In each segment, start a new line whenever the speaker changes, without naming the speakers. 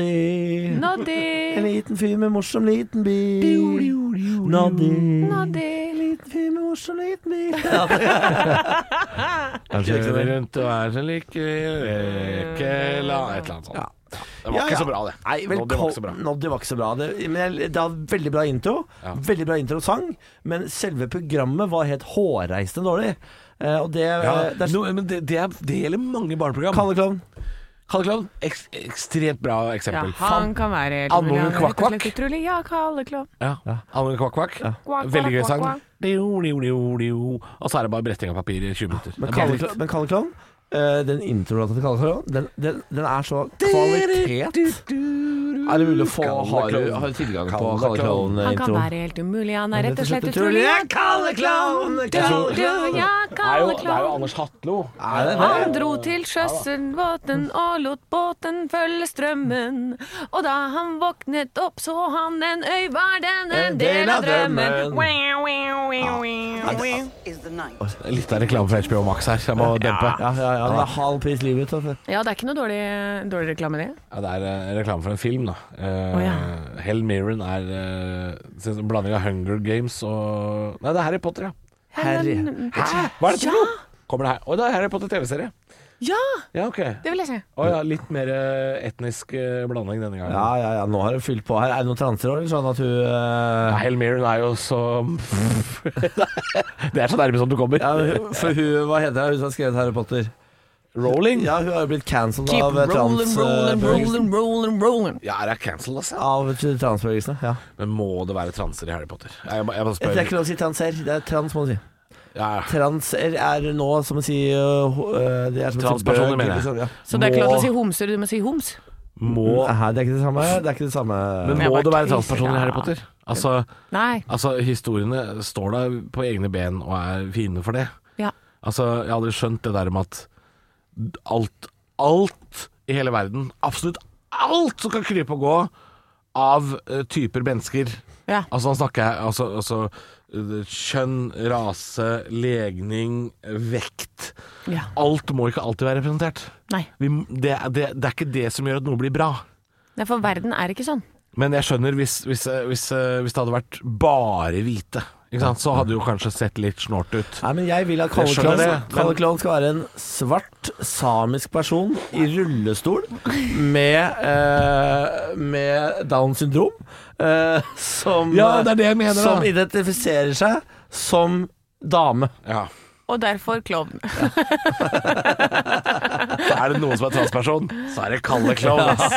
Noddy. En
Noddy.
liten fyr med morsom liten bil. Noddy.
Noddy.
Liten fyr med morsom liten bil.
Han kjører rundt og er så lykkelig Ekela Et eller annet sånt.
Ja.
Det var
Ja,
ikke
ja.
så bra, det.
Nei,
Nå, det var ikke så bra.
velkommen Noddy var ikke så bra. Det, men jeg, det var veldig bra intro.
Ja.
Veldig bra introsang. Men selve programmet var helt hårreisende dårlig. Eh, og det,
Ja,
eh, det er
no, men det, det, er, det gjelder mange barneprogram.
Kalle Klovn.
Kalle Klovn, ek, ekstremt bra
Ja,
eksempel.
han kan være helt
Anonym
mulig. Han er rett og
kvakk-kvakk.
slett utrolig. Ja, Kalle Klovn.
Ja. Anne Kvakk Kvakk.
Kvakk,
Veldig gøy
kvakk,
sang.
kvakk, kvakk.
Dio, dio, dio, dio. Og så er det bare bretting av papir i 20 minutter.
Men
Det er
Kalle,
bare dritt.
Klovn- men Kalle Klovn eh, den introlåta til Kalle Klovn, den, den, den er så kvalitet. Er det mulig å få
Kalle
Har du
Klovn.
har du tilgang på
Kalle
Kalle
Han
Klovn.
kan
Klovn-introen?
være helt umulig. Han er rett og slett
utrolig.
utrolig. Ja,
Ja, Kalle Klovn! Kalle
Du,
Klovn!
ja, Kalle Klovn.
Anders Hatlo.
Er det det?
Han dro til sjøsundbåten og lot båten følge strømmen. Og da han våknet opp, så han en øy, var den en del av drømmen. Wow, wow, wow, wow, wow.
is the night.
Litt av reklame for HBO Max her, så jeg må dempe.
Ja, ja, ja. Det er halv pris livet. altså.
Ja, det er ikke noe dårlig, dårlig reklame, det.
Ja, det er eh, reklame for en film, da. Eh,
Å, ja.
Hell Mirren er eh, en blanding av Hunger Games og Nei, det er Harry Potter, ja.
Harry.
Hæ? Hva er det for noe? Kommer det her? Å, det er Harry Potter TV-serie.
Ja,
Ja, ok.
det vil jeg si.
Å ja, litt mer eh, etnisk eh, blanding denne gangen.
Ja, ja, ja. Nå har hun fylt på her. Er det noen transer òg, eller sånn at hun eh,
Ja, Hell Mirren er jo så Det er så nærme som du kommer.
Ja, men hun- for hun, hva heter hun, hun som har skrevet Harry Potter?
Rolling.
Ja, hun har jo blitt cancelled
Keep
av eh,
rolling,
trans...
rolling,
eh,
rolling, rolling, rolling.
Ja, det er cancelled, altså.
Av transbevegelsene, ja.
Men må det være transer i Harry Potter? Jeg, må- jeg bare
Det
spør.
er ikke lov å si transer, det er trans, må man si.
Ja, ja.
Transer er nå som å si øh, ho- øh, det er som å si
Transpersoner,
bøg,
mener jeg.
liksom, ja.
Så det er ikke lov til å
Må-
si homser, du må si homs.
Må,
Nei, det er ikke det samme. Det er ikke det samme.
men
Jeg
må
bare
det være
tviler,
transpersoner i Harry
ja.
Potter? Altså,
Nei.
altså, historiene står da på egne ben og er fine for det.
Ja.
Altså, jeg hadde skjønt det der med at alt, alt i hele verden, absolutt alt som kan krype og gå av eh, typer mennesker
Ja.
Altså, han snakker jeg altså, altså eh, kjønn, rase, legning, vekt.
ja.
Alt må ikke alltid være representert.
Nei.
Vi, det, det, det er ikke det som gjør at noe blir bra.
Nei, for verden er ikke sånn.
Men jeg skjønner hvis, hvis, eh, hvis, hvis det hadde vært bare hvite, ikke sant? så hadde det jo kanskje sett litt snålt ut.
Nei, men jeg vil at
Jeg
Kalle
skjønner
Klovn
det, men-
Kalle Klovn skal være en svart samisk person i rullestol med, øh, med Downs syndrom, øh, som,
Ja, det er det jeg mener,
som
da.
identifiserer seg som dame.
Ja.
Og derfor klovn.
Så er det noen som er transperson, så er det Kalle Klovn. ass.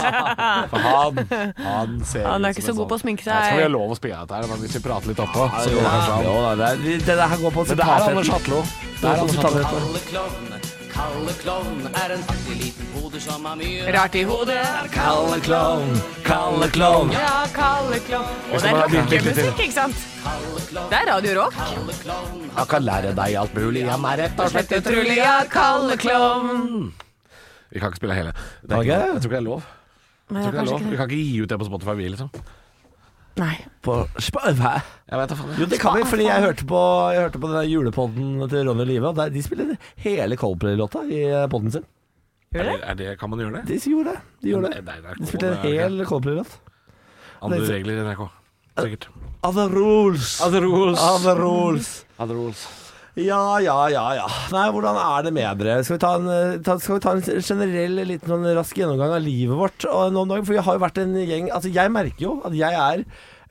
For han, han ser
Han er
ut
ikke
som en
så god på å sminke
Jeg tror
seg.
vi har lov å spille dette her, men hvis vi prater litt oppå så går det kanskje an.
Jo da, det er- det- det her går på
Men det er
sitatretten.
Anders Hatlo.
Det er Anders Hatlo.
Kalle Klovn, Kalle Klovn er en artig liten hode som har mye
Rart i hodet.
Kalle Klovn, Kalle Klovn.
Ja, Kalle klovn. Og det er
bare ha
rockemusikk, ikke sant? Det er Radio Rock.
Jeg kan lære deg alt mulig, han er rett og slett
Utrolig, ja, Kalle klovn.
Vi kan ikke spille hele. Det er
Kan ikke?
ikke, jeg tror ikke det er lov. Jeg
Nei,
tror ikke det er lov. Vi
det.
kan ikke gi ut det på Spotify, vi, liksom.
Nei.
På sp- Hæ?
Jeg vet da faen.
Jo, det kan vi, fordi jeg hørte på, jeg hørte på den der julepodden til Ronny og Live, og der, de spiller hele Coldplay-låta i eh, podden sin.
Er det, er det, kan man gjøre det?
De gjorde det. De, gjorde det.
Nei, det er
de spilte en hel Coldplay-låt.
Andre regler i NRK. Sikkert.
Other rules.
Other rules.
Other rules.
Other rules.
Ja, ja, ja, ja. Nei, hvordan er det med dere? Skal vi ta en, eh, ta, skal vi ta en generell liten sånn rask gjennomgang av livet vårt og nå om dagen? For vi har jo vært en gjeng Altså, jeg merker jo at jeg er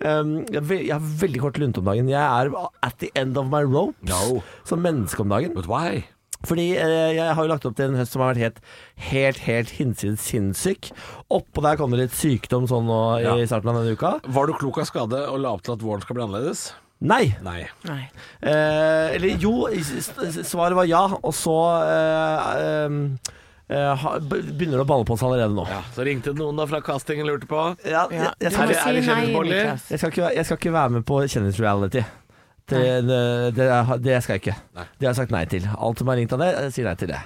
ehm, jeg, er ve- jeg har veldig kort lunte om dagen. Jeg er at the end of my ropes
No.
som menneske om dagen.
But why?
Fordi eh, jeg har jo lagt opp til en høst som har vært helt, helt, helt hinsides sinnssyk. Oppå der kommer det litt sykdom sånn nå
Ja.
i starten av denne uka.
Var du klok av skade og la opp til at våren skal bli annerledes?
Nei!
Nei.
Nei.
Eh, eller jo, s- s- svaret var ja, og så eh, em, eh, ha- begynner det å balle på seg allerede nå.
Ja, så ringte noen da fra castingen og lurte på.
Ja,
Ja,
jeg, jeg,
du må
Er det-
skal,
er
si
det
nei,
kjendisboller?
Niklas.
jeg, skal ikke, være- jeg skal ikke være med på kjendisreality. Det, det, det, det skal jeg ikke.
Nei.
Det har jeg sagt nei til. Alt som har ringt av det, jeg sier nei til det.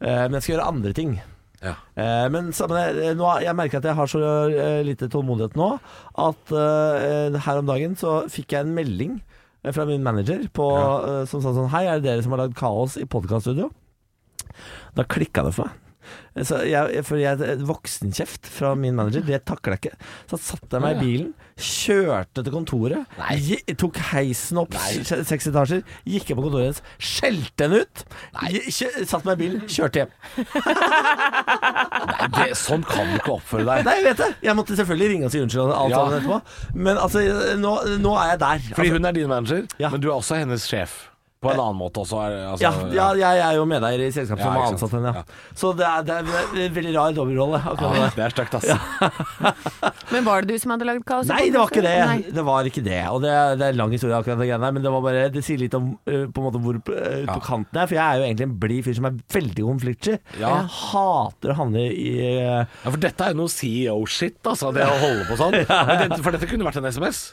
Eh, men jeg skal gjøre andre ting.
Ja.
Eh, Men sammen, eh, nå, jeg merker at jeg har så eh, lite tålmodighet nå at eh, her om dagen så fikk jeg en melding eh, fra min manager på, eh, som sa sånn Hei, er det dere som har lagd kaos i podkaststudio? Da klikka det for meg. Så jeg, for jeg, voksenkjeft fra min manager, det takla jeg ikke. Så satte jeg meg i bilen, kjørte til kontoret, gi- tok heisen opp s- seks etasjer, gikk inn på kontoret hennes, skjelte henne ut, gi- kjø- satte meg i bilen, kjørte hjem.
Nei, det, sånn kan du ikke oppføre deg.
Nei, jeg vet det! Jeg måtte selvfølgelig ringe og si unnskyld og alt
Ja.
sammen etterpå, men altså, nå, nå er jeg der.
Fordi hun er din manager,
Ja.
men du er også hennes sjef. På en annen måte også. er- Altså,
Ja, ja, jeg er jo medeier i selskapet
Ja,
som har
ikke sant.
ansatt henne.
Ja.
Ja. Så det er, det er en veldig rar dobbeltrolle. akkurat
Ja,
det.
Ah, Det er stygt, ass.
Men var det du som hadde lagd kaoset?
Nei, det var ikke det.
Nei.
Det var ikke det. Og det, det er en lang historie, akkurat det greiene der, men det var bare Det sier litt om eh, på en måte hvor eh, på
Ja.
kanten jeg er, for jeg er jo egentlig en blid fyr som er veldig konfliktsky.
Ja.
Jeg hater å havne i eh,
Ja, for dette er jo noe CEO-shit, altså, det å holde på sånn. Men det, for dette kunne vært en SMS.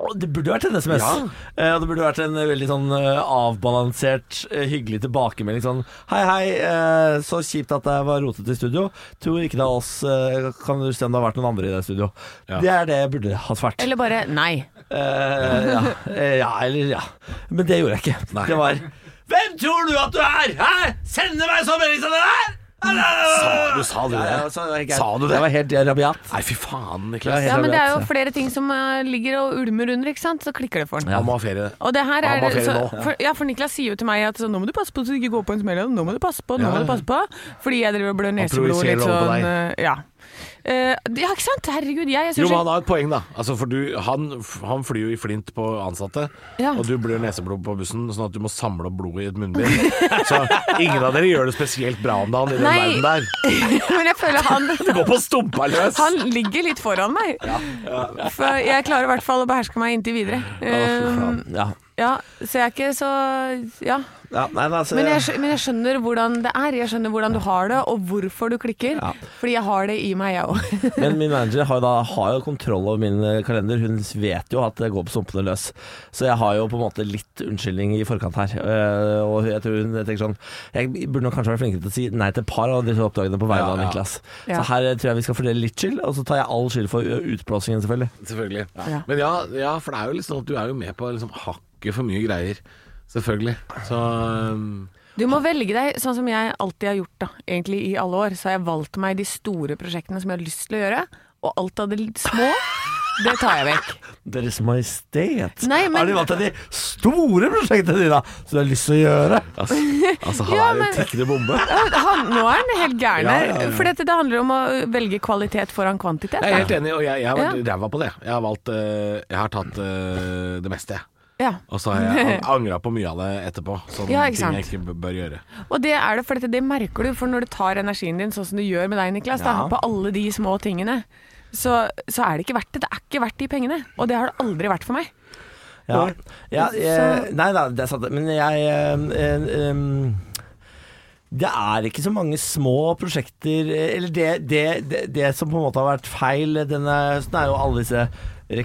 Å, Det burde vært en SMS.
Ja.
Eh, og det burde vært en veldig sånn eh, avbalansert, eh, hyggelig tilbakemelding sånn Hei, hei, eh, så kjipt at jeg var rotet i studio. Tror ikke det er oss. eh, Kan du se om det har vært noen andre i det studio?
Ja.
Det er det jeg burde hatt vært.
Eller bare nei.
Eh, ja. Eh, ja, eller ja. Men det gjorde jeg ikke.
Nei.
Det var Hvem tror du at du er? Hæ? Sender meg sånn melding som det der?
Sa du, sa du
Ja,
det?
ja, så det var helt
Sa du det?
Jeg var helt rabiat.
Nei, fy faen, Niklas.
Ja,
Ja, men det er
vet.
jo flere ting som eh, ligger og ulmer under, ikke sant? Så klikker det for den.
Han må ha ferie.
Og det her
Han
er
må ha ferie
så,
nå.
for, Ja, for Niklas sier jo til meg at sånn, Nå må du passe på så du ikke går på en smell og Nå må du passe på, nå
Ja,
må
ja.
du passe på Fordi jeg driver og blør neseblod
projiserer
litt
over på
sånn eh, Ja Eh, Ja, ikke sant? Herregud, jeg, jeg
Jo,
synes
men han har et poeng, da. Altså, for du, han, han flyr jo i flint på ansatte,
Ja.
og du blør neseblod på bussen, sånn at du må samle opp blodet i et munnbind. Så ingen av dere gjør det spesielt bra om dagen i den
Nei.
verden der.
men jeg føler han
Det går på stumpa løs!
Han ligger litt foran meg For jeg klarer i hvert fall å beherske meg inntil videre Eh,
Ehm, Ja.
Ja, så jeg er ikke så Ja
ja nei, men altså,
Men jeg, skjø- men jeg skjønner hvordan det er. Jeg skjønner hvordan du har det, og hvorfor du klikker.
Ja.
Fordi jeg har det i meg, jeg òg.
Men min manager har jo, da, har jo kontroll over min eh, kalender. Hun vet jo at det går på sumpene løs. Så jeg har jo på en måte litt unnskyldning i forkant her. Eh, og jeg tror hun tenker sånn Jeg burde nok kanskje vært flinkere til å si nei til et par av disse oppdragene på vegne
Ja,
av
ja.
Niklas.
Ja.
Så her eh, tror jeg vi skal fordele litt skyld, og så tar jeg all skyld for ø, utblåsingen, selvfølgelig.
Selvfølgelig.
Ja.
Men ja, ja, for det er jo litt sånn at du er jo med på liksom hakket for mye greier. Selvfølgelig. Så um,
Du må velge deg sånn som jeg alltid har gjort, da. Egentlig i alle år. Så har jeg valgt meg de store prosjektene som jeg har lyst til å gjøre, og alt av de litt små, det tar jeg vekk.
Deres Majestet.
Nei, men-
Er de vant til de store prosjektene dine, som du har lyst til å gjøre?
Altså, altså han
Ja,
er jo
men-
en tikkende bombe.
Han, nå er han helt gæren
Ja,
her.
ja, ja.
For dette, det handler om å velge kvalitet foran kvantitet.
Jeg er
Da.
helt enig, og jeg, jeg har vært ræva på det. Jeg har valgt eh, Jeg har tatt eh, det meste, jeg.
Ja.
Og så har jeg ang- angra på mye av det etterpå. Sånne
Ja, ikke
ting jeg
sant.
ikke b- bør gjøre.
Og det er det, for dette, det merker du. For når du tar energien din sånn som du gjør med deg, Niklas, da,
Ja.
på alle de små tingene, så, så er det ikke verdt det. Det er ikke verdt de pengene. Og det har det aldri vært for meg.
Ja.
Og-
ja eh,
Så-
nei da, det er sant. Men jeg eh, eh, em, Det er ikke så mange små prosjekter eh, Eller det, det, det, det som på en måte har vært feil denne høsten, er jo alle disse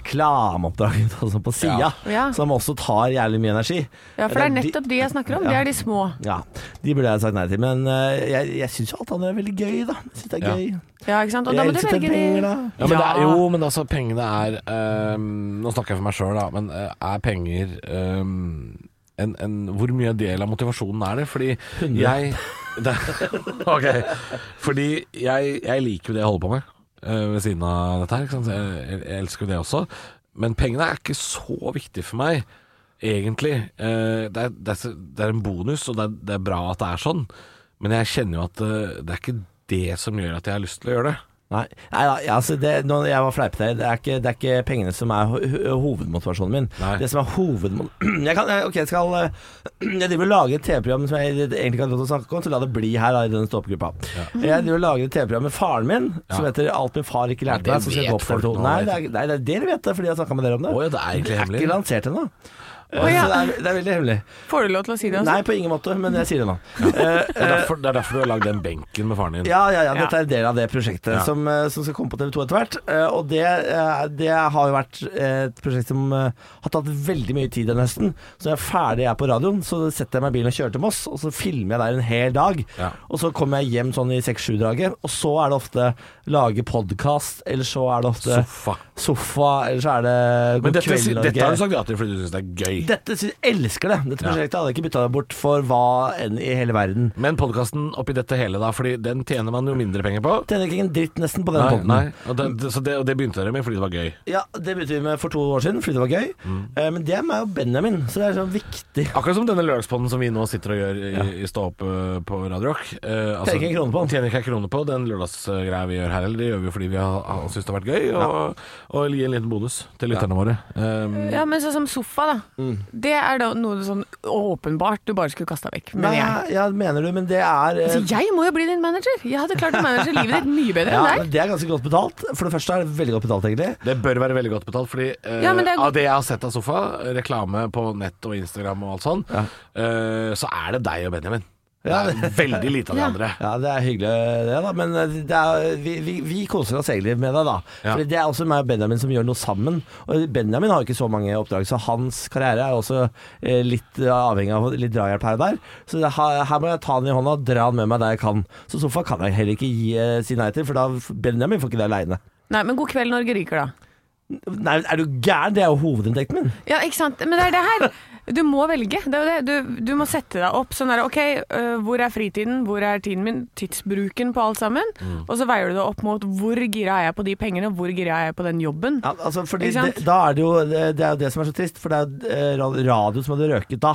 reklameoppdragene altså på sida,
Ja.
som også tar jævlig mye energi.
Ja, for det er
de-
nettopp de jeg snakker om.
Ja.
Det er de små.
ja, De burde jeg sagt nei til. Men eh, jeg, jeg syns jo alt annet er veldig gøy, da. Jeg synes det er
Ja.
gøy.
Ja, ikke sant? Og da
jeg
må du
elsker
velge
penger,
de
da.
Ja, men
Ja.
Det er, jo, men altså, pengene er ehm, Nå snakker jeg for meg sjøl, da, men eh, er penger ehm, en, en, Hvor mye del av motivasjonen er det? Fordi jeg det, Ok. Fordi jeg, jeg liker jo det jeg holder på med eh, ved siden av dette her. Ikke sant? Jeg, jeg, jeg elsker jo det også. Men pengene er ikke så viktig for meg, egentlig. Eh, det, er, det, er, så- det er en bonus, og det er, det er bra at det er sånn. Men jeg kjenner jo at eh, det er ikke det som gjør at jeg har lyst til å gjøre det.
Nei, nei da, ja, altså det, nå, jeg var fleipete her. Det er, ikke, det er ikke pengene som er ho ho- hovedmotivasjonen min.
Nei.
Det som er hovedmo... Jeg kan, jeg- ok, jeg skal eh, Jeg driver og lager et TV-program som jeg egentlig ikke har lov til å snakke om, så la det bli her da, i denne ståpegruppa. Jeg driver og lager et TV-program med faren min som
Ja.
heter 'Alt min far ikke lærte
Ja, det
meg'. Som skal
vet
gå på
folk
TV2.
nå,
Nei,
vet
det er, nei, det er dere vet det, fordi jeg har snakka med dere om det.
Å ja, det er egentlig
det er
hemmelig.
ikke lansert ennå. Eh,
Å, ja.
Så det er, det er veldig hemmelig.
Får du lov til å si det?
Nei,
Også?
på ingen måte, men jeg sier det nå. Eh,
Det er, derfor, det er derfor du har lagd den benken med faren din.
Ja, ja, ja,
Ja.
dette er en del av det prosjektet
Ja.
som, eh, som skal komme på TV 2 etter hvert. Eh, Og det, eh, det har jo vært et prosjekt som eh, har tatt veldig mye tid denne høsten. Så når jeg er ferdig jeg er på radioen, så setter jeg meg i bilen og kjører til Moss, og så filmer jeg der en hel dag.
Ja.
Og så kommer jeg hjem sånn i seks-sju-draget, og så er det ofte lage podkast, eller så er det ofte
Sofa.
sofa, eller så er det
Men
God
dette,
kveld,
dette har du
Norge.
sagt ja til fordi du syns det er gøy.
Dette sy- elsker det. Dette prosjektet hadde jeg ikke bytta bort for hva enn i hele verden.
Men podkasten oppi dette hele, da, Fordi den tjener man jo mindre penger på.
Tjener ikke en dritt nesten på den
Nei,
punkten.
nei. Og det, det, så det, og det begynte dere med fordi det var gøy.
Ja, Det begynte vi med for to år siden fordi det var gøy. Eh, Men det er meg og Benjamin, så det er sånn viktig.
Akkurat som denne lørdagspodden som vi nå sitter og gjør i, i Stå opp eh, på Radio Rock. Eh, altså,
Tjener ikke en krone på.
Tjener ikke en krone på den lørdagsgreia vi gjør her. Eller det gjør vi jo fordi vi har, har syntes det har vært gøy, og, og gi en liten bonus til lytterne våre. Um,
Ja, men sånn som sofa, da.
Mm.
Det er da noe sånn åpenbart du bare skulle kasta vekk.
Nei,
Men jeg. Altså,
ja, mener du, men det er eh,
Så jeg må jo bli din manager! Jeg hadde klart å manage livet ditt mye bedre
ja,
enn
men
deg.
Det er ganske godt betalt. For det første er det veldig godt betalt, egentlig.
det bør være veldig godt betalt, fordi eh,
Ja, men det er
av det jeg har sett av sofa, reklame på nett og Instagram og alt sånn, eh, så er det deg og Benjamin. Det
Ja,
er veldig lite av de
Ja.
andre.
Ja, det er hyggelig det, da. Men eh, det er, vi, vi, vi koser oss egentlig med deg, da.
Ja.
Fordi det er også meg og Benjamin som gjør noe sammen. Og Benjamin har jo ikke så mange oppdrag, så hans karriere er også eh, litt eh, avhengig av litt drahjelp her og der. Så det, her, her må jeg ta han i hånda og dra han med meg der jeg kan. Så sofa kan jeg heller ikke gi, eh, si nei til, for da f- Benjamin får ikke det aleine.
Nei, men God kveld, Norge ryker, da.
Nei, er du gæren? Det er jo hovedinntekten min.
Ja, ikke sant. Men det er det her. Du må velge. Det er jo det. Du, du må sette deg opp sånn her OK, øh, hvor er fritiden? Hvor er tiden min? Tidsbruken på alt sammen.
Mm.
Og så veier du det opp mot hvor gira er jeg på de pengene, hvor gira er jeg på den jobben?
Ja, altså fordi
Ikke sant?
det, da er det, jo, det, det er jo det som er så trist, for det er jo eh, ra- radio som hadde røket da.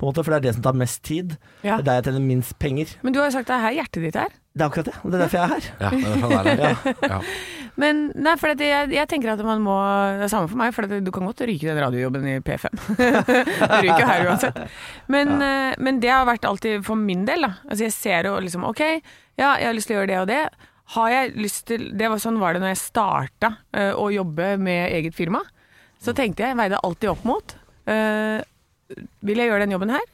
På en måte, for det er det som tar mest tid. Det
Ja.
er der jeg tjener minst penger.
Men du har jo sagt det er her hjertet ditt er.
Det er akkurat det. og Det er derfor jeg er her.
Ja, det er derfor han er her. Ja.
Men nei, for at jeg, jeg tenker at man må Det er samme for meg, for at du kan godt ryke den radiojobben i P5. du ryker jo her uansett. Men, eh, men det har vært alltid for min del, da. Altså jeg ser jo liksom OK, ja, jeg har lyst til å gjøre det og det. Har jeg lyst til Det var sånn var det når jeg starta eh, å jobbe med eget firma. Så tenkte jeg, veide alltid opp mot eh, Vil jeg gjøre den jobben her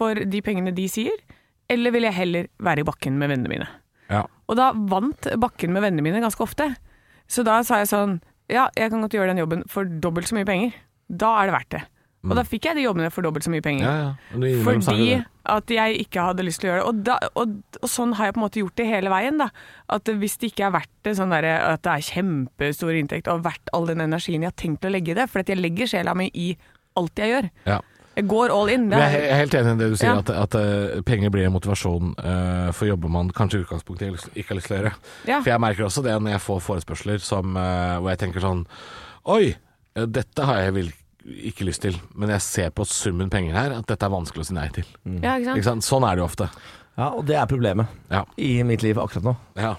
for de pengene de sier, eller vil jeg heller være i bakken med vennene mine?
Ja.
Og da vant bakken med vennene mine ganske ofte. Så da sa jeg sånn Ja, jeg kan godt gjøre den jobben for dobbelt så mye penger. Da er det verdt det. Og da fikk jeg de jobbene for dobbelt så mye penger.
Ja, ja. Du innrømmer sangen,
Fordi
du.
at jeg ikke hadde lyst til å gjøre det. Og, da, og, og sånn har jeg på en måte gjort det hele veien. da. At Hvis det ikke er verdt det, sånn der, at det er kjempestor inntekt og verdt all den energien jeg har tenkt å legge i det For at jeg legger sjela mi i alt jeg gjør.
Ja.
Jeg går all in. Det
Men jeg er he-
er,
jeg er helt enig i det du sier,
Ja.
at, at eh, penger blir en motivasjon eh, for jobber man kanskje i utgangspunktet ikke har lyst- ikke har lyst til å gjøre.
Ja.
For jeg merker også det når jeg får forespørsler som, eh, hvor jeg tenker sånn Oi, eh, dette har jeg vil ikke lyst til, men jeg ser på summen penger her at dette er vanskelig å si nei til.
ja, ikke sant?
Ikke sant? Sånn er det jo ofte.
Ja, og det er problemet
Ja.
i mitt liv akkurat nå.
ja.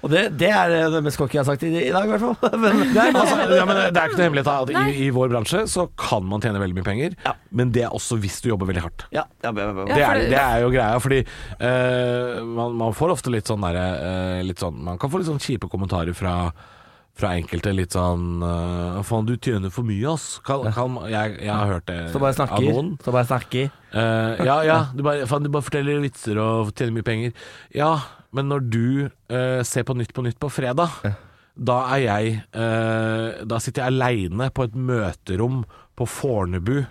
Og det, det er eh, det mest cocky jeg har sagt i, i dag, i hvert fall. Men det er
Altså,
masse.
ja, men det er ikke noe hemmelighet da, at i, i vår bransje så kan man tjene veldig mye penger,
Ja.
men det er også hvis du jobber veldig hardt.
Ja, ja, ja, ja, ja.
Ja.
Det er,
for det-
det er jo greia, fordi eh, man, man får ofte litt sånn derre eh, litt sånn, Man kan få litt sånn kjipe kommentarer fra, fra enkelte. Litt sånn eh, 'Faen, du tjener for mye, ass'. Kan, kan, jeg, jeg har hørt det
Så bare
av
snakker.
noen.
Så bare snakker.
Eh, ja, ja. Du bare, faen, du bare forteller vitser og tjener mye penger. Ja, men når du eh, ser på Nytt på Nytt på fredag, da er jeg eh, Da sitter jeg aleine på et møterom på Fornebu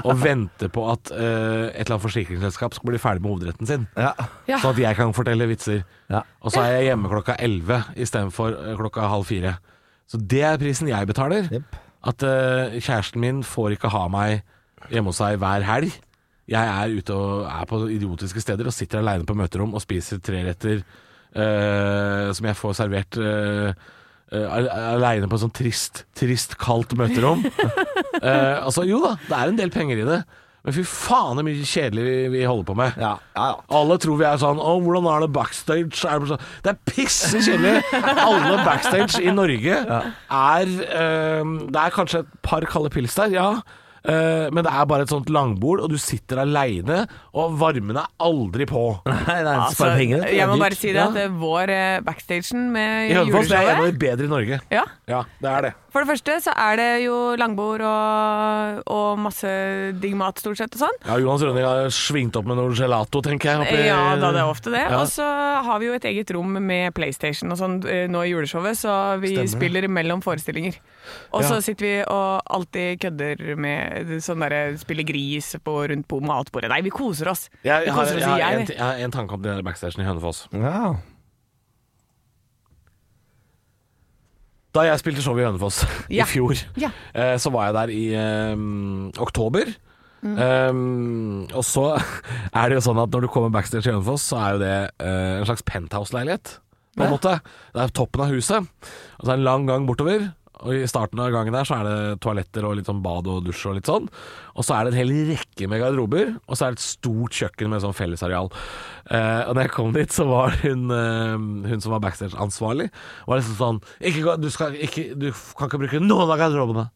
og venter på at eh, et eller annet forsikringsselskap skal bli ferdig med hovedretten sin.
Ja.
Ja.
Sånn at jeg kan fortelle vitser.
Ja.
Og så er jeg hjemme klokka elleve istedenfor eh, klokka halv fire. Så det er prisen jeg betaler.
Jepp.
At eh, kjæresten min får ikke ha meg hjemme hos seg hver helg. Jeg er ute og er på idiotiske steder og sitter aleine på møterom og spiser treretter eh, som jeg får servert uh, aleine på et sånt trist, trist kaldt møterom. Eh, altså, jo da, det er en del penger i det. Men fy faen så mye kjedelig vi, vi holder på med.
Ja, ja, ja.
Alle tror vi er sånn Å, hvordan er det backstage? Er det, bare sånn? det er pisse kjedelig! Alle backstage i Norge er eh, Det er kanskje et par kalde pils der, ja. Eh, men det er bare et sånt langbord, og du sitter aleine, og varmen er aldri på.
Nei, nei,
Altså,
spare pengene. det er
jeg må
dyrt.
bare si det
Ja.
at det er vår eh, backstagen med
I Hønefoss det er en av
juleshowet
de bedre i Norge.
ja,
Ja, det er det.
For det første så er det jo langbord og, og masse digg mat stort sett og sånn.
Ja, Johan Rønning har svingt opp med noe gelato, tenker jeg. oppi-
Ja, da det er ofte det.
Ja.
Og så har vi jo et eget rom med PlayStation og sånn eh, nå i juleshowet, så vi spiller mellom forestillinger. Og så
Ja.
sitter vi og alltid kødder med sånn derre spiller gris på, rundt på matbordet. Nei, vi koser oss.
Jeg,
vi
har,
koser oss
jeg,
i
har en,
hjel.
jeg har en tanke om den der backstagen i Hønefoss.
Ja.
Da jeg spilte show i Hønefoss
Ja.
i fjor,
Ja.
eh, så var jeg der i eh, oktober.
Mm.
Eh, og så er det jo sånn at når du kommer backstage i Hønefoss, så er jo det eh, en slags penthouse-leilighet. På en måte. Det er toppen av huset, og så er det en lang gang bortover. Og I starten av gangen der så er det toaletter og litt sånn bad og dusj og litt sånn. Og så er det en hel rekke med garderober, og så er det et stort kjøkken med sånn fellesareal. Eh, og da jeg kom dit, så var hun, eh, hun som var backstage-ansvarlig, var liksom sånn ikke, gå- du, skal, ikke, 'Du kan ikke bruke noen av garderobene'.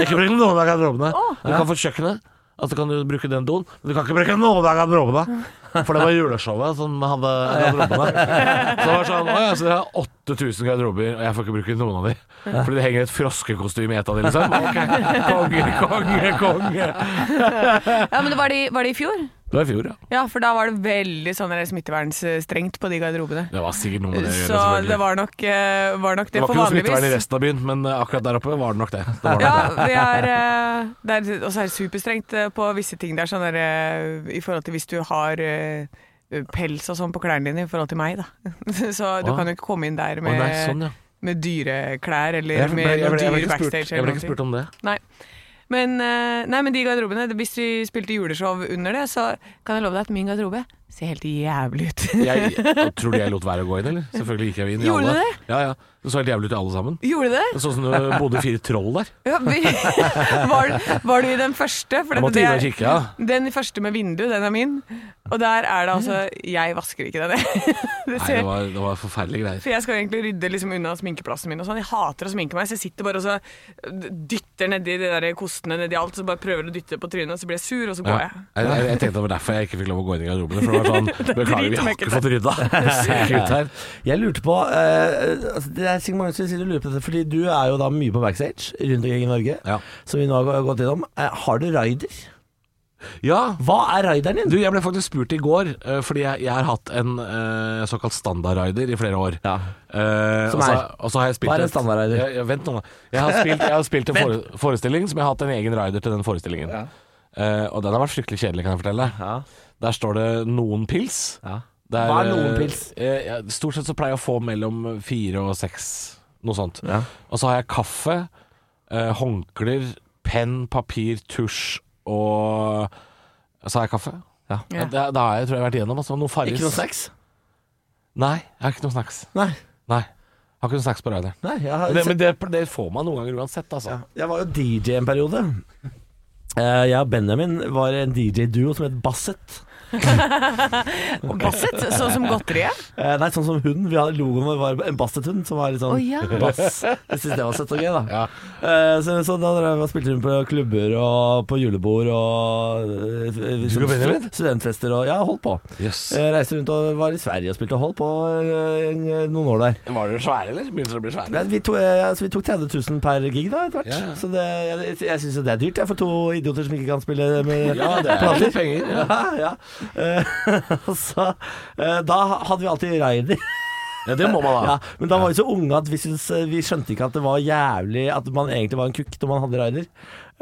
Ikke bruke noen av garderobene. Du kan få kjøkkenet, og så kan du bruke den doen, men du kan ikke bruke noen av garderobene. For det var juleshowet som hadde garderobene. Så det var sånn Å ja, så dere har 8000 garderober, og jeg får ikke bruke noen av de. Fordi det henger et froskekostyme i et av de, liksom. Ok, Konge, konge, konge.
Ja, men det var, de, var det i fjor?
Det var i fjor, ja.
Ja, for da var det veldig sånn der smittevernstrengt på de garderobene.
Det var sikkert noe med det å gjøre,
Så
selvfølgelig.
det var nok, eh, var nok det,
Det var
for
ikke noe smittevern i
vanligvis.
resten av byen, men eh, akkurat der oppe var det nok det. det, var nok
Ja,
det.
vi er, eh, det er, og så er det superstrengt eh, på visse ting der, sånn der eh, i forhold til hvis du har eh, pels og sånn på klærne dine i forhold til meg, da. Så du
Å.
kan jo ikke komme inn der
Å,
med,
nei, sånn, ja.
med dyreklær
Jeg
eller
ble,
med
jeg,
noen
ble, jeg, ble
dyre
ikke spurt,
backstage.
jeg
eller
ble
noen
ikke
ting.
spurt om det.
Nei. Men, eh, nei, men de garderobene det- Hvis vi spilte juleshow under det, så kan jeg love deg at min garderobe ser helt jævlig ut.
Jeg, tror du jeg lot være å gå inn, eller? Selvfølgelig gikk jeg inn i
Gjorde
alle.
du
Ja, ja. Det så helt jævlig ut i alle sammen.
Gjorde det?
Sånn som det bodde fire troll der.
Ja, vi, var, var du i den første? For dette-
Jeg måtte
det
inn og
er-
kikke, ja.
Den første med vindu, den er min. Og der er det altså Jeg vasker ikke den, jeg. Det
Nei,
ser,
det var, det var forferdelige greier.
for jeg skal egentlig rydde liksom unna sminkeplassen min og sånn. Jeg hater å sminke meg, så jeg sitter bare og så eh, dytter nedi de der kostene nedi alt. Så bare prøver å dytte på trynet, og så blir jeg sur, og så går
Ja.
jeg.
Jeg, jeg, jeg tenkte det var derfor jeg ikke fikk lov å gå inn i garderobene. For det var sånn Beklager, vi har ikke fått rydda. Det ser ikke ut her.
Jeg lurte på eh, altså Det er sikkert mange som sitter og lurer på dette, fordi du er jo da mye på backstage rundt omkring i Norge,
Ja.
som vi nå har gått gjennom. Eh, har du raider?
ja.
Hva er raideren din?
Du, jeg ble faktisk spurt i går, eh, fordi jeg, jeg har hatt en eh, såkalt standardrider i flere år.
Ja.
Eh,
Som
og så-
er?
og så har jeg spilt
Hva er en
et-
standardrider?
Ja, ja, vent nå, da. Jeg har spilt, jeg har spilt en fore, forestilling som jeg har hatt en egen rider til den forestillingen. Eh, og den har vært fryktelig kjedelig, kan jeg fortelle deg.
Ja.
Der står det 'noen pils'.
Ja.
Det er,
Hva er noen
eh,
pils?
eh, ja, stort sett så pleier jeg å få mellom fire og seks, noe sånt.
Ja.
Og så har jeg kaffe, eh, håndklær, penn, papir, tusj og Så har jeg kaffe.
Ja.
Ja, det, det har jeg tror jeg har vært igjennom. Altså, noe farris.
Ikke noe snacks?
Nei, jeg har ikke noe snacks.
Nei.
Nei. Jeg har ikke noe snacks på rideren.
Nei jeg, har,
Det, men det, det får man noen ganger uansett, altså.
jeg var jo DJ en periode. Eh, jeg og Benjamin var en DJ-duo som het Basset.
Og Basset, sånn som godteriet.
Eh, nei, sånn som hunden. Vi hadde logoen vår var en Basset-hund som var litt sånn
Å, ja.
bass. Jeg syns det var søtt og gøy, da.
Ja.
Eh, så, så da drev jeg og spilte hun på klubber og på julebord og eh,
og Benjamin?
stu- studentfester og Ja, holdt på.
Yes.
Eh, reiste rundt og var i Sverige og spilte og holdt på eh, en- noen år der.
Var dere svære, eller? Begynte dere å bli svære?
Men Vi, to, eh, altså, vi tok 30 000 per gig da, etter hvert.
Ja, ja.
Så det, jeg, jeg syns jo det er dyrt, jeg, for to idioter som ikke kan spille med
Ja, det er
plater.
litt penger. Ja.
Ja, ja. Eh, så, eh, da hadde vi alltid raider.
ja, det må man ha.
Ja, men da var vi så unge at vi, syntes, vi skjønte ikke at det var jævlig At man egentlig var en kukk når man hadde raider.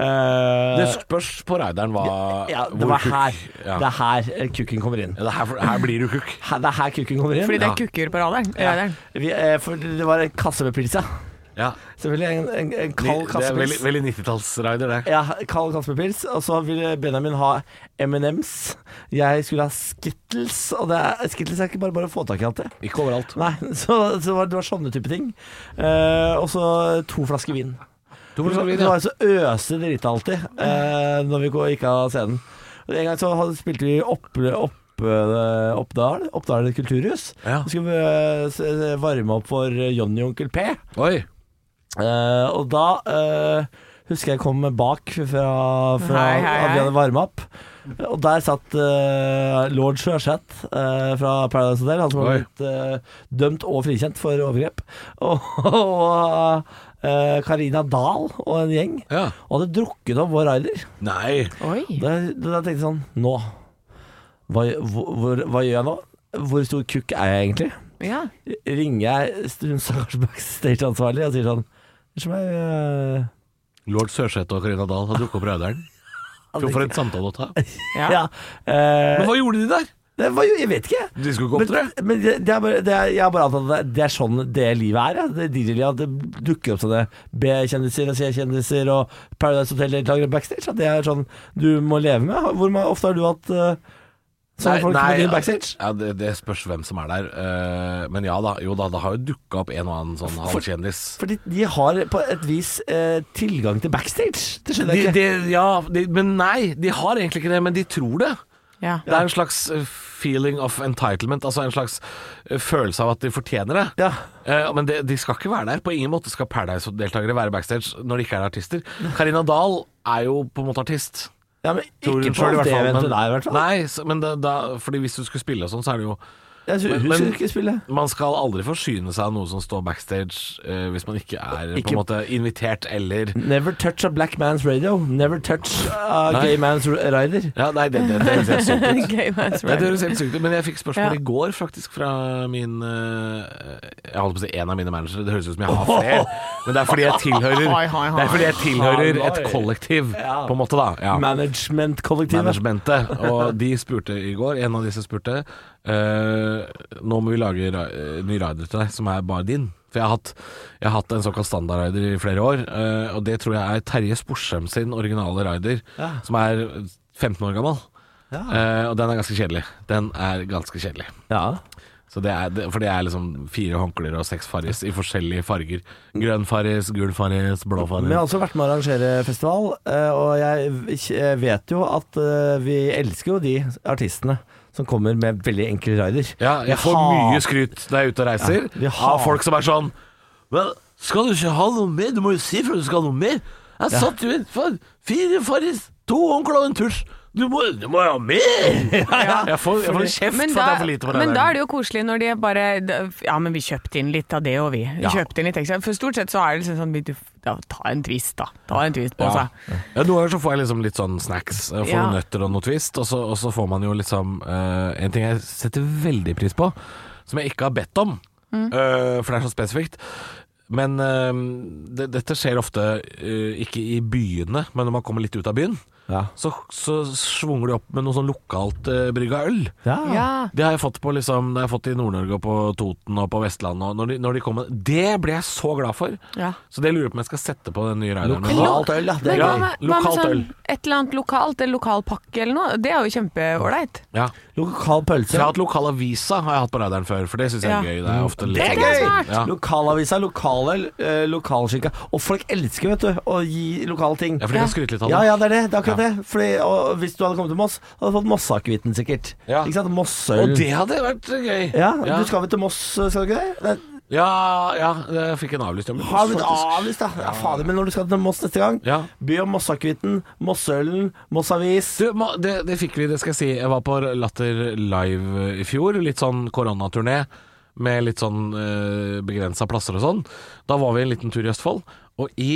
Eh,
Det spørs på rideren hva
ja, det
hvor
var
kukk-
her.
Ja.
Det er her eh, kukken kommer inn.
Ja, det er her, her blir du kukk.
Her, det er her kukken kommer inn.
Fordi det
Ja.
er kukker på radaren. radaren.
Vi, eh, for det var en kasse med pils, ja.
Ja.
Selvfølgelig en, en, en kald
Det
kasse
er
med
veldig,
pils.
veldig 90-tallsrider, det.
Ja, kald kasse med pils. Og så ville Benjamin ha M&M's. Jeg skulle ha Skittles, og det er, Skittles er ikke bare bare å få tak i alltid.
Ikke overalt.
Nei, så, så det, var, det var sånne type ting. Eh, og så to flasker vin.
Du
Det var, det var så øse dritt alltid eh, når vi gå- gikk av scenen. Og En gang så hadde, spilte vi opp, opp, eh, Oppdal, Oppdal kulturhus.
Ja.
Så skulle vi eh, s- eh, varme opp for Johnny og Onkel P.
Oi.
Eh, og da eh, husker jeg kom bak fra, fra
Hei, hei,
at
hei.
vi hadde varma opp. Og der satt eh, lord Sjøseth eh, fra Paradise Hotel, han som
Oi.
var blitt eh, dømt og frikjent for overgrep. Og, og eh, Karina Dahl og en gjeng.
Ja.
Og hadde drukket opp vår rider.
Nei.
Oi.
Da, da tenkte jeg sånn Nå. Hva, gjør- hvor, hvor, hva gjør jeg nå? Hvor stor kukk er jeg egentlig?
Ja.
Ringer jeg hun stakkars backstage-ansvarlig og sier sånn Unnskyld meg. eh,
Lord Sørseth og Karina Dahl har drukket opp rideren. For for en samtale å ta.
Ja.
Ja. Eh,
Men hva gjorde de der?
Det var jo, jeg vet ikke.
Du skulle ikke opptre?
Men, men det, det er bare, det er, jeg har bare antatt at det, det er sånn det livet er. Ja. Det, er DJ-livet, at det dukker opp sånne B-kjendiser og C-kjendiser og Paradise Hotel-deltakere backstage. At det er sånn du må leve med. Hvor ma- ofte har du hatt eh, sånne folk på din backstage?
Ja, det, det spørs hvem som er der. Eh, men ja da, jo da, det har jo dukka opp en og annen sånn halvkjendis.
Fordi de har på et vis eh, tilgang til backstage. Det skjønner jeg
De,
ikke.
de, ja, de, men nei, de har egentlig ikke det, men de tror det.
Ja.
Det er en slags eh, feeling of entitlement, altså en slags eh, følelse av at de fortjener det.
Ja.
Eh, men de, de skal ikke være der. På ingen måte skal Paradise-deltakere være backstage når de ikke er artister. Karina Dahl er jo på en måte artist.
ja, men
Tror hun
ikke på
selv, i hvert
det
fall,
eventet
men-
der, i hvert fall.
Nei, så, men da, da, fordi hvis du skulle spille og sånn, så er det jo
Jeg
Men-
synes, hun
men-
skulle ikke spille.
Man skal aldri forsyne seg av noe som står backstage eh, hvis man ikke er
Ikke-
på en måte invitert eller
Never touch a black man's radio. Never touch a
Nei.
gay man's rider.
Ja, nei, det, det, det høres helt sykt ut.
Gay man's
Nei, det
right.
høres helt sykt ut, men jeg fikk spørsmål
Ja.
i går faktisk fra min eh, Jeg holdt på å si en av mine managere, det høres ut som jeg har flere, men det er fordi jeg tilhører
Hoi, hoi, hoi.
Det er fordi jeg tilhører et
Halloi.
kollektiv,
Ja.
på en måte, da. Ja.
Management-kollektivet.
Managementet. Og de spurte i går, en av disse spurte eh, Nå må vi lage ra- eh, ny rider til deg, som er bare din. For jeg har hatt, jeg har hatt en såkalt standardrider i flere år, eh, og det tror jeg er Terje Sporsem sin originale rider,
Ja.
som er 15 år gammel. Eh, og den er ganske kjedelig. Den er ganske kjedelig.
Ja.
Så det er, det- for det er liksom fire håndklær og seks farris i forskjellige farger. Grønn farris, gul farris, blå farris.
Men jeg har også vært med å arrangere festival, eh, og jeg k- jeg vet jo at eh, vi elsker jo de artistene som kommer med veldig enkel rider.
Ja, jeg får mye skryt når jeg er ute og reiser
Ja, vi har-
av folk som er sånn Vel, skal du ikke ha noe mer? Du må jo si for du skal ha noe mer. Jeg satt jo inn for fire farris, to håndklær og en tusj. Du må, du må jo ha mer! Jeg får, jeg får kjeft
Men
for at jeg
da,
er for lite på den
men da
der.
er det jo koselig når de bare Ja, men vi kjøpte inn litt av det og vi. Vi
Ja.
kjøpte inn litt ekstra. For stort sett så er det liksom sånn du, ja, Ta en twist, da. Ta en twist på
Ja.
seg.
Ja, noen ganger så får jeg liksom litt sånn snacks. Jeg får
Ja.
noen nøtter og noe twist, og så, og så får man jo liksom eh, En ting jeg setter veldig pris på, som jeg ikke har bedt om,
Mm.
eh, for det er så spesifikt. Men eh, det, dette skjer ofte eh, ikke i byene, men når man kommer litt ut av byen,
Ja.
så, så svunger de opp med noe sånn lokalt uh, brygga øl.
Ja.
Ja.
Det har jeg fått på liksom, det har jeg fått i Nord-Norge og på Toten og på Vestlandet. Og når de, når de kommer, det ble jeg så glad for!
ja.
Så det lurer jeg på om jeg skal sette på den nye raideren. min.
Lokalt øl, ja. Det
Men
er
Ja,
hva
gøy.
med, hva med
lokalt
sånn
øl.
et eller annet lokalt, eller lokal pakke eller noe? Det er jo kjempeålreit.
Ja.
Lokal
Så jeg
pølse.
har hatt lokalavisa har jeg hatt på radaren før, for det syns jeg er
Ja.
gøy. Det er ofte litt
Det er
gøy!
Ja.
Lokalavisa, lokaløl, eh, lokalskinka. Og folk elsker, vet du, å gi lokale ting.
Ja, for de kan skryte litt av det.
Ja, ja, det er det. Det er akkurat
Ja.
det. Fordi, og hvis du hadde kommet til Moss, hadde du fått Mosseakevitten sikkert.
Ja.
Ikke sant? Mossøl.
Og det hadde vært gøy.
Ja,
ja.
du skal vel til Moss, skal du ikke det? det
ja, ja, jeg fikk en avlyst jobb.
har blitt
faktisk.
avlyst, da. Ja, fader, men når du skal til Moss neste gang,
Ja.
by om Mossakevitten, Mossølen, Mossavis.
Du, ma- det, det fikk vi, det skal jeg si. Jeg var på Latter Live i fjor. Litt sånn koronaturné med litt sånn eh, begrensa plasser og sånn. Da var vi en liten tur i Østfold, og i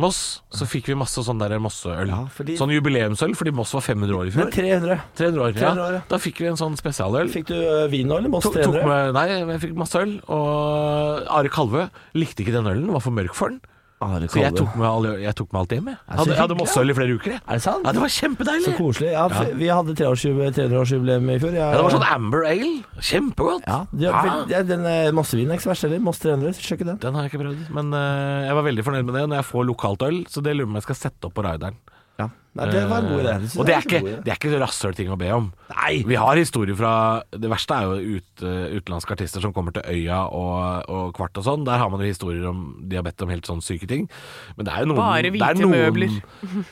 Moss så fikk vi masse sånn der Mosseøl.
Ja, fordi-
Sånn jubileumsøl, fordi Moss var 500 år i
Nei,
fjor.
300.
300 år,
300 år, ja.
ja. Da fikk vi en sånn spesialøl.
Fikk du ø, vin nå, eller Moss
Tok, tok
300?
med, nei, men jeg fikk masse øl, og Are Kalvø likte ikke den ølen, den var for mørk for den.
Are
Så jeg
Kalve.
tok med, alle, jeg tok med alt hjem, jeg. Jeg hadde, jeg hadde masse øl i flere uker, jeg.
Er det sant?
Ja, det var
Så
kjempedeilig!
koselig. Ja, f- Vi hadde 300-årsjubileum 300 i fjor. Jeg-
Ja, det var sånn Amber Ale. Kjempegodt. Ah.
ja, de har vel- ja, Den ø, Mossevinen er ikke så verst heller. Moss 300, sjekk den.
Den har jeg ikke prøvd, men eh, jeg var veldig fornøyd med det når jeg får lokalt øl, så det lurer jeg på om jeg skal sette opp på raideren.
Ja. Nei, det var en god idé. synes
Eh, og det
jeg
er ikke,
var en god idé.
det er ikke rasshøl ting å be om.
Nei.
Vi har historier fra Det verste er jo ut, eh, utenlandske artister som kommer til Øya og, og Kvart og sånn. Der har man jo historier om de har bedt om helt sånn syke ting. Men det er jo noen
Bare
det
hvite
er noen,
møbler.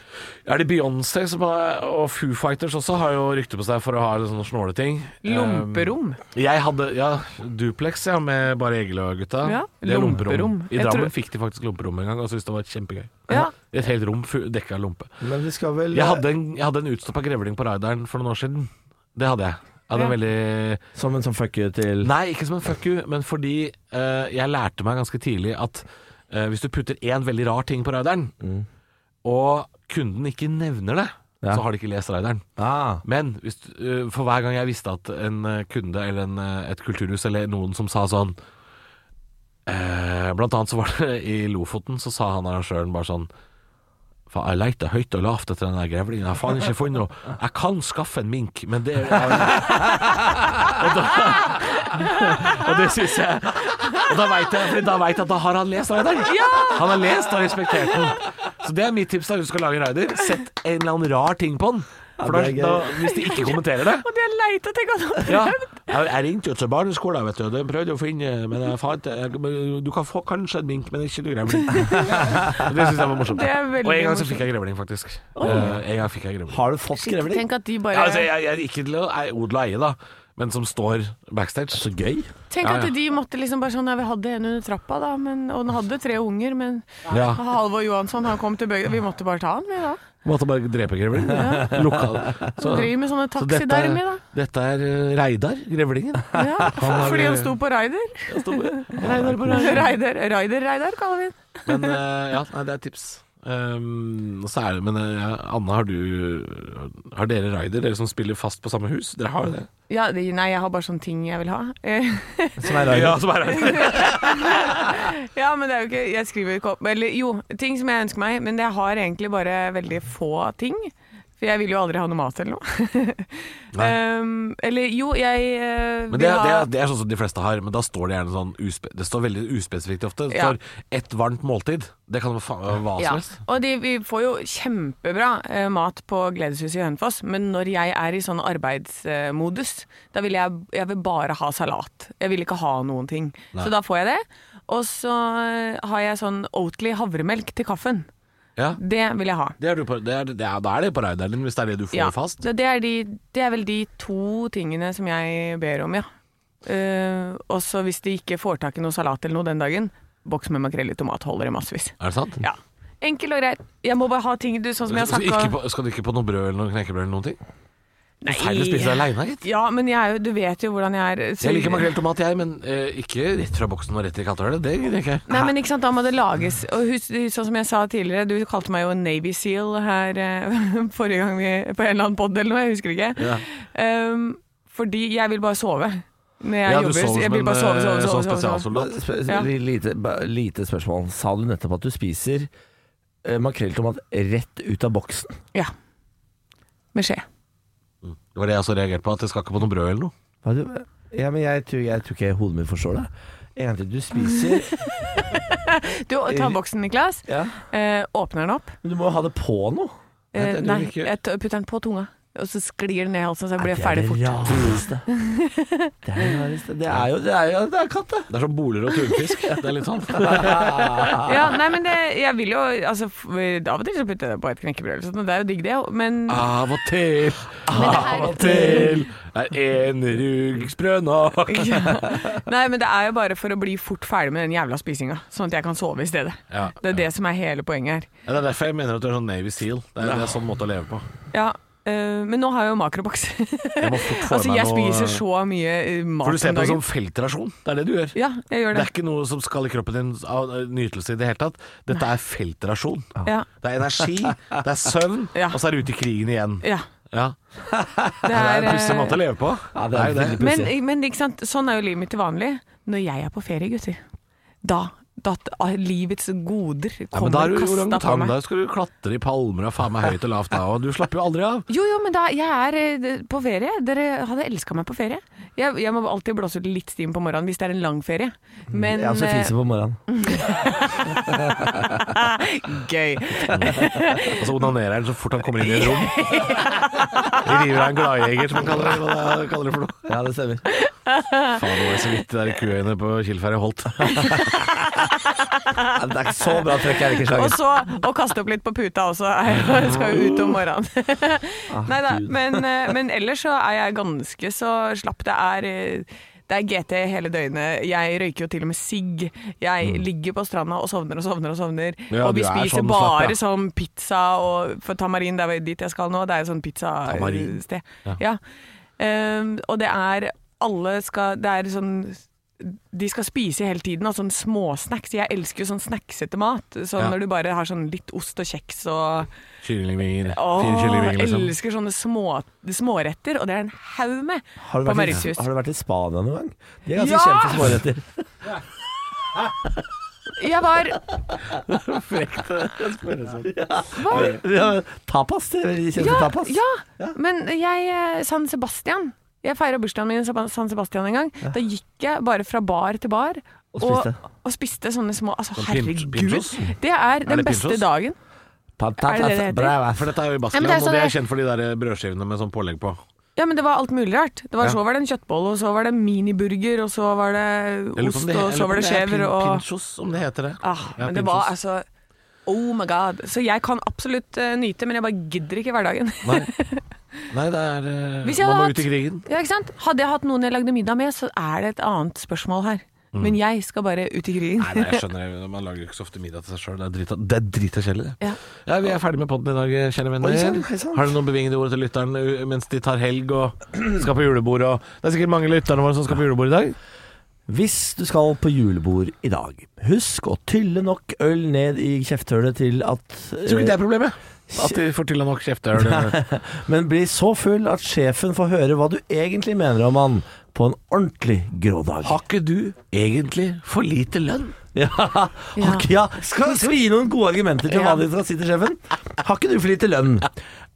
Er det Beyoncé som har, og Foo Fighters også har jo rykte på seg for å ha litt sånne snåle ting.
Lomperom.
Eh, Jeg hadde ja, duplex ja, med bare Egil og gutta.
Ja,
Det er
lomperom.
I
Jeg tror-
Drammen fikk de faktisk lomperom en gang og syntes det var kjempegøy.
Ja.
Et helt rom fu- dekka av lompe.
Men vi skal vel
Jeg hadde en, jeg hadde en utstoppa grevling på raideren for noen år siden. Det hadde jeg. Jeg hadde en veldig
Som en sånn fuck you til
Nei, ikke som en fuck you, men fordi eh, jeg lærte meg ganske tidlig at eh, hvis du putter én veldig rar ting på raideren,
Mm.
og kunden ikke nevner det,
Ja.
så har de ikke lest raideren.
Ah.
Men hvis, du- øh, for hver gang jeg visste at en øh, kunde eller en, øh, et kulturhus eller noen som sa sånn eh, Blant annet så var det i Lofoten, så sa han arrangøren bare sånn Faen, jeg leita høyt og lavt etter den der grevlingen. Jeg har faen ikke funnet noe. Jeg kan skaffe en mink, men det er Og, da, og det syns jeg Og da veit jeg, fordi da vet jeg at da har han lest Raider. Han har lest og respektert den. Så det er mitt tips da du skal lage en Raider. Sett en eller annen rar ting på den. For
Ja,
da,
det er
da,
gøy.
hvis de ikke kommenterer det
Og de har leita etter hva
ja. Jeg, jeg ringte jo til barneskolen, vet du. og De prøvde å finne Men jeg fant jeg, men Du kan få kanskje en mink, men ikke du grevling. det syns jeg var morsomt.
Det er veldig
og en gang så
morsomt.
fikk jeg grevling, faktisk. Eh, en gang fikk jeg grevling.
Har du fått grevling?
Tenk at de
Ja,
bare
altså, jeg, jeg, ikke til å jeg er odel og eie, da, men som står backstage. Så gøy.
Tenk
Ja,
at
ja.
de måtte liksom bare sånn Ja, vi hadde en under trappa, da, men, og den hadde tre unger, men
Ja.
Halvor Johansson, han kom til bygda Vi måtte bare ta han, vi, da.
Måtte bare drepe grevling. Lokal. Så,
Driver med sånne
så dette,
taxidermi, da.
dette er eh, Reidar, grevlingen.
Ja,
har-
fordi han sto på Raider.
Reidar på
Raider, Raider, Raider kaller vi den.
Men eh, ja, nei, det er et tips. Um, og så er det, men eh, ja, Anne, har du Har dere raider, dere som spiller fast på samme hus? Dere har det?
Ja, det- nei, jeg har bare sånne ting jeg vil ha. Eh,
Som er rar.
som er raider.
Ja, men det er jo ikke Jeg skriver jo ikke opp Eller jo, ting som jeg ønsker meg, men jeg har egentlig bare veldig få ting. For jeg vil jo aldri ha noe mat eller noe. um, eller jo, jeg eh,
Men
vil
det, er- det,
ha
er- det er sånn som de fleste har, men da står det gjerne sånn uspe, Det står veldig uspesifikt ofte. Det
Ja.
står ett varmt måltid. Det kan være fa- hva som helst.
Og de, vi får jo kjempebra eh, mat på Gledeshuset i Hønefoss, men når jeg er i sånn arbeidsmodus, da vil jeg, jeg vil bare ha salat. Jeg vil ikke ha noen ting. Så da får jeg det. Og så eh, har jeg sånn Oatly havremelk til kaffen.
Ja.
Det vil jeg ha.
Det er du på, det er, det er, da er det på raideren din, hvis det er det du får
Ja,
fast.
så det er, de, det er vel de to tingene som jeg ber om, ja. Eh, og så hvis de ikke får tak i noe salat eller noe den dagen, boks med makrell i tomat holder i massevis.
Er det sant?
Ja. Enkelt og greit. Jeg må bare ha ting du, sånn som jeg har
Så
sagt.
altså,
og-
ikke på, skal du ikke på noe brød eller noe knekkebrød eller noen ting?
Nei.
Feil å spise aleine, gitt.
Ja, men jeg er jo, du vet jo hvordan jeg er. så-
Jeg liker makrell i tomat, jeg, men eh, ikke rett fra boksen og rett i kattehullet. Det gidder jeg ikke.
Nei, men ikke sant, da må det lages. Og hus, sånn som jeg sa tidligere, du kalte meg jo en Navy Seal her eh, forrige gang vi på en eller annen pod eller noe, jeg husker ikke.
Ja.
Um, fordi jeg vil bare sove. Når jeg
Ja, du
jobber.
sover
så jeg
som
vil
en,
bare sove, sove,
eh, sånn
sove. sove, sove,
spesialsoldat.
Sp-
Ja.
lite, ba- lite spørsmål. Sa du nettopp at du spiser eh, makrell i tomat rett ut av boksen?
Ja. Med skje.
Det var det jeg også reagerte på, at det skal ikke på noe brød eller noe.
Hva er det- Ja, men jeg tror, jeg tror ikke hodet mitt forstår det. Egentlig, du spiser
Du
Eh,
tar boksen, Niklas.
ja.
Eh, åpner den opp.
Men du må jo ha det på noe.
Eh,
det- du
nei,
vil ikke-
jeg t- putter den på tunga. Og så sklir den ned i halsen, så jeg blir
det
ferdig fort.
er det rareste. Det er det rareste. Det er jo det er, jo, det er katt, det.
Det er som boler og tunfisk. Det er litt sånn.
Ja, nei, men det, jeg vil jo altså, f- Av og til så putter jeg det på et knekkebrød eller sånt, og det er jo digg det, men
Av og til, av og til er en rugsprø nok.
Nei, men det er jo bare for å bli fort ferdig med den jævla spisinga, sånn at jeg kan sove i stedet.
Ja.
Det er det som er hele poenget her.
Ja, det er derfor jeg mener at du er sånn Navy Seal. Det er, det er sånn måte å leve på.
Ja, øh, men nå har jeg jo makroboks.
Jeg må fort få
altså,
meg
jeg
noe-
spiser så mye øh,
For
mat om
du ser på det
dagen.
som feltrasjon. Det er det du gjør.
Ja, jeg gjør
Det
det.
er ikke noe som skal i kroppen din av eh, nytelse i det hele tatt. Dette er feltrasjon.
Ja.
Det er energi, det er søvn,
Ja.
og så er du ute i krigen igjen.
ja.
Ja.
Det
Det er en
øh,
pussig måte å leve på.
Ja, det er
jo
veldig
men, men ikke sant, sånn er jo livet mitt til vanlig. Når jeg er på ferie, gutter, da da ah, livets goder
Ja, men da er
kommer
du
kasta på
orangutang,
meg.
da skal du klatre i palmer og faen meg høyt og lavt da, og du slapper jo aldri av.
Jo, jo, men da, jeg er eh, på ferie. Dere hadde elska meg på ferie. Jeg, jeg må alltid blåse ut litt stim på morgenen hvis det er en lang ferie.
Mm,
Men
Ja, så
eh,
fiser på morgenen.
gøy.
Og så onanerer han så fort han kommer inn i et rom. Vi river av en gladjeger, som han kaller det. Hva det- kaller det for noe?
Ja, det stemmer.
Faen, det var så vidt det der kuøyene på Kilferje holdt.
Ja, det er ikke så bra trekk, Erik
Og
Slager.
så å kaste opp litt på puta også.
Ah.
Jeg skal jo ut om morgenen. Nei da. Men, eh, men ellers så er jeg ganske så slapp. Det er eh, det er GT hele døgnet. Jeg røyker jo til og med sigg. Jeg ligger på stranda og sovner og sovner og sovner.
Mm. Ja,
og vi
du er
spiser
sånn slapp,
bare
ja.
sånn pizza og For Tamarin, det er jo dit jeg skal nå, det er jo sånn
Tamarin.
pizzasted. Ja. ja. Um, og det er Alle skal Det er sånn de skal spise hele tiden, og sånn småsnacks. Jeg elsker jo sånn snacksete mat. Sånn
Ja.
når du bare har sånn litt ost og kjeks og
Kyllingvinger.
Åh,
Fire kyllingvinger, liksom.
elsker sånne små, småretter, og det er en haug med
Har du,
på
vært i,
Mauritius.
har du vært i Spania noen gang? De er ganske
Ja!
kjent for småretter.
Jeg var
Frekt spørsmål.
Hva?
Ja, tapas? det er veldig Kjente
Ja,
tapas?
ja. Men jeg eh, San Sebastian. Jeg feira bursdagen min i Seba- San Sebastian en gang. Da gikk jeg bare fra bar til bar.
Og spiste.
Og, og spiste sånne små Altså,
Sånn pin-
herregud.
pinchos?
Det er den
det
beste
pinchos?
dagen. Er det det det
Patatas
heter?
bravas.
For dette er jo i
Ja,
Baskeland,
men det er
og
sånn
det er
jeg-
kjent for de der brødskivene med sånn pålegg på.
Ja, men det var alt mulig rart. Det var,
Ja.
Så var det en kjøttbolle, og så var det miniburger, og så var det
Jeg lurer
ost,
på om det-
og så
jeg lurer på
var
om
det
er
skjever
pin-
og
Pinchos, om det heter det.
ah,
Ja,
Men det var
pinchos.
altså Oh my god. Så jeg kan absolutt eh, nyte, men jeg bare gidder ikke hverdagen.
Nei. Nei, det er eh,
Hvis jeg
Man
hadde hatt-
må ut i krigen.
ja, ikke sant? Hadde jeg hatt noen jeg lagde middag med, så er det et annet spørsmål her.
Mm.
Men jeg skal bare ut i krigen.
Nei, nei, jeg skjønner det. Man lager jo ikke så ofte middag til seg sjøl. Det er drita- det er drita kjedelig, det.
Ja.
Ja, vi er ferdig med podden i dag, kjære venner.
Oi, sant, oi, sant.
Har du noen bevingede ord til lytteren uh, mens de tar helg og skal på julebord? Og det er sikkert mange lytterne våre som skal på julebord i dag.
Hvis du skal på julebord i dag, husk å tylle nok øl ned i kjefthølet til at
Jeg tror ikke det
eh,
er problemet. At de får til nok kjeftehøl.
Men bli så full at sjefen får høre hva du egentlig mener om han på en ordentlig grå dag.
Har ikke du egentlig for lite lønn?
Ja, har ikke- ja. Skal, skal vi gi noen gode argumenter til hva
Ja.
de skal si til sjefen? Har ikke du for lite lønn?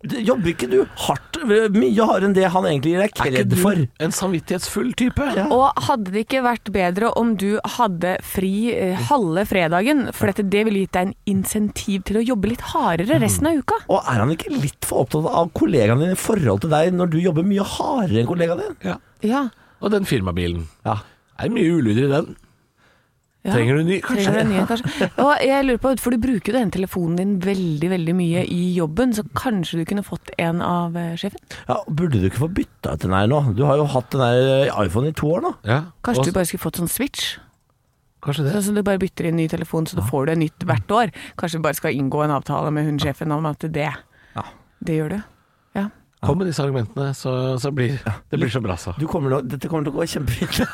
Du- Jobber ikke du hardt, mye hardere enn det han egentlig gir deg
Er ikke
kred
du
for?
en samvittighetsfull type?
Ja.
Og hadde det ikke vært bedre om du hadde fri eh, halve fredagen, for dette, det ville gitt deg en insentiv til å jobbe litt hardere resten av uka?
Og er han ikke litt for opptatt av kollegaen din i forhold til deg når du jobber mye hardere enn kollegaen din?
Ja.
Ja.
Og den firmabilen.
Ja.
Er det mye ulyder i den?
ja.
Trenger du ny? Kanskje.
Trenger du en ny, kanskje? Og jeg lurer på, for du bruker jo den telefonen din veldig veldig mye i jobben, så kanskje du kunne fått en av eh, sjefen?
Ja, Burde du ikke få bytta ut den her nå? Du har jo hatt den her eh, iPhone i to år nå.
Ja.
Kanskje
Og-
du bare skulle fått sånn switch?
kanskje det.
Sånn som du bare bytter inn ny telefon, så du får det nytt hvert år. Kanskje du bare skal inngå en avtale med hun sjefen om at det Det gjør du. Ja.
Kom med disse argumentene, så, så blir det blir så bra, så.
Du kommer nå, dette kommer til å gå kjempefint.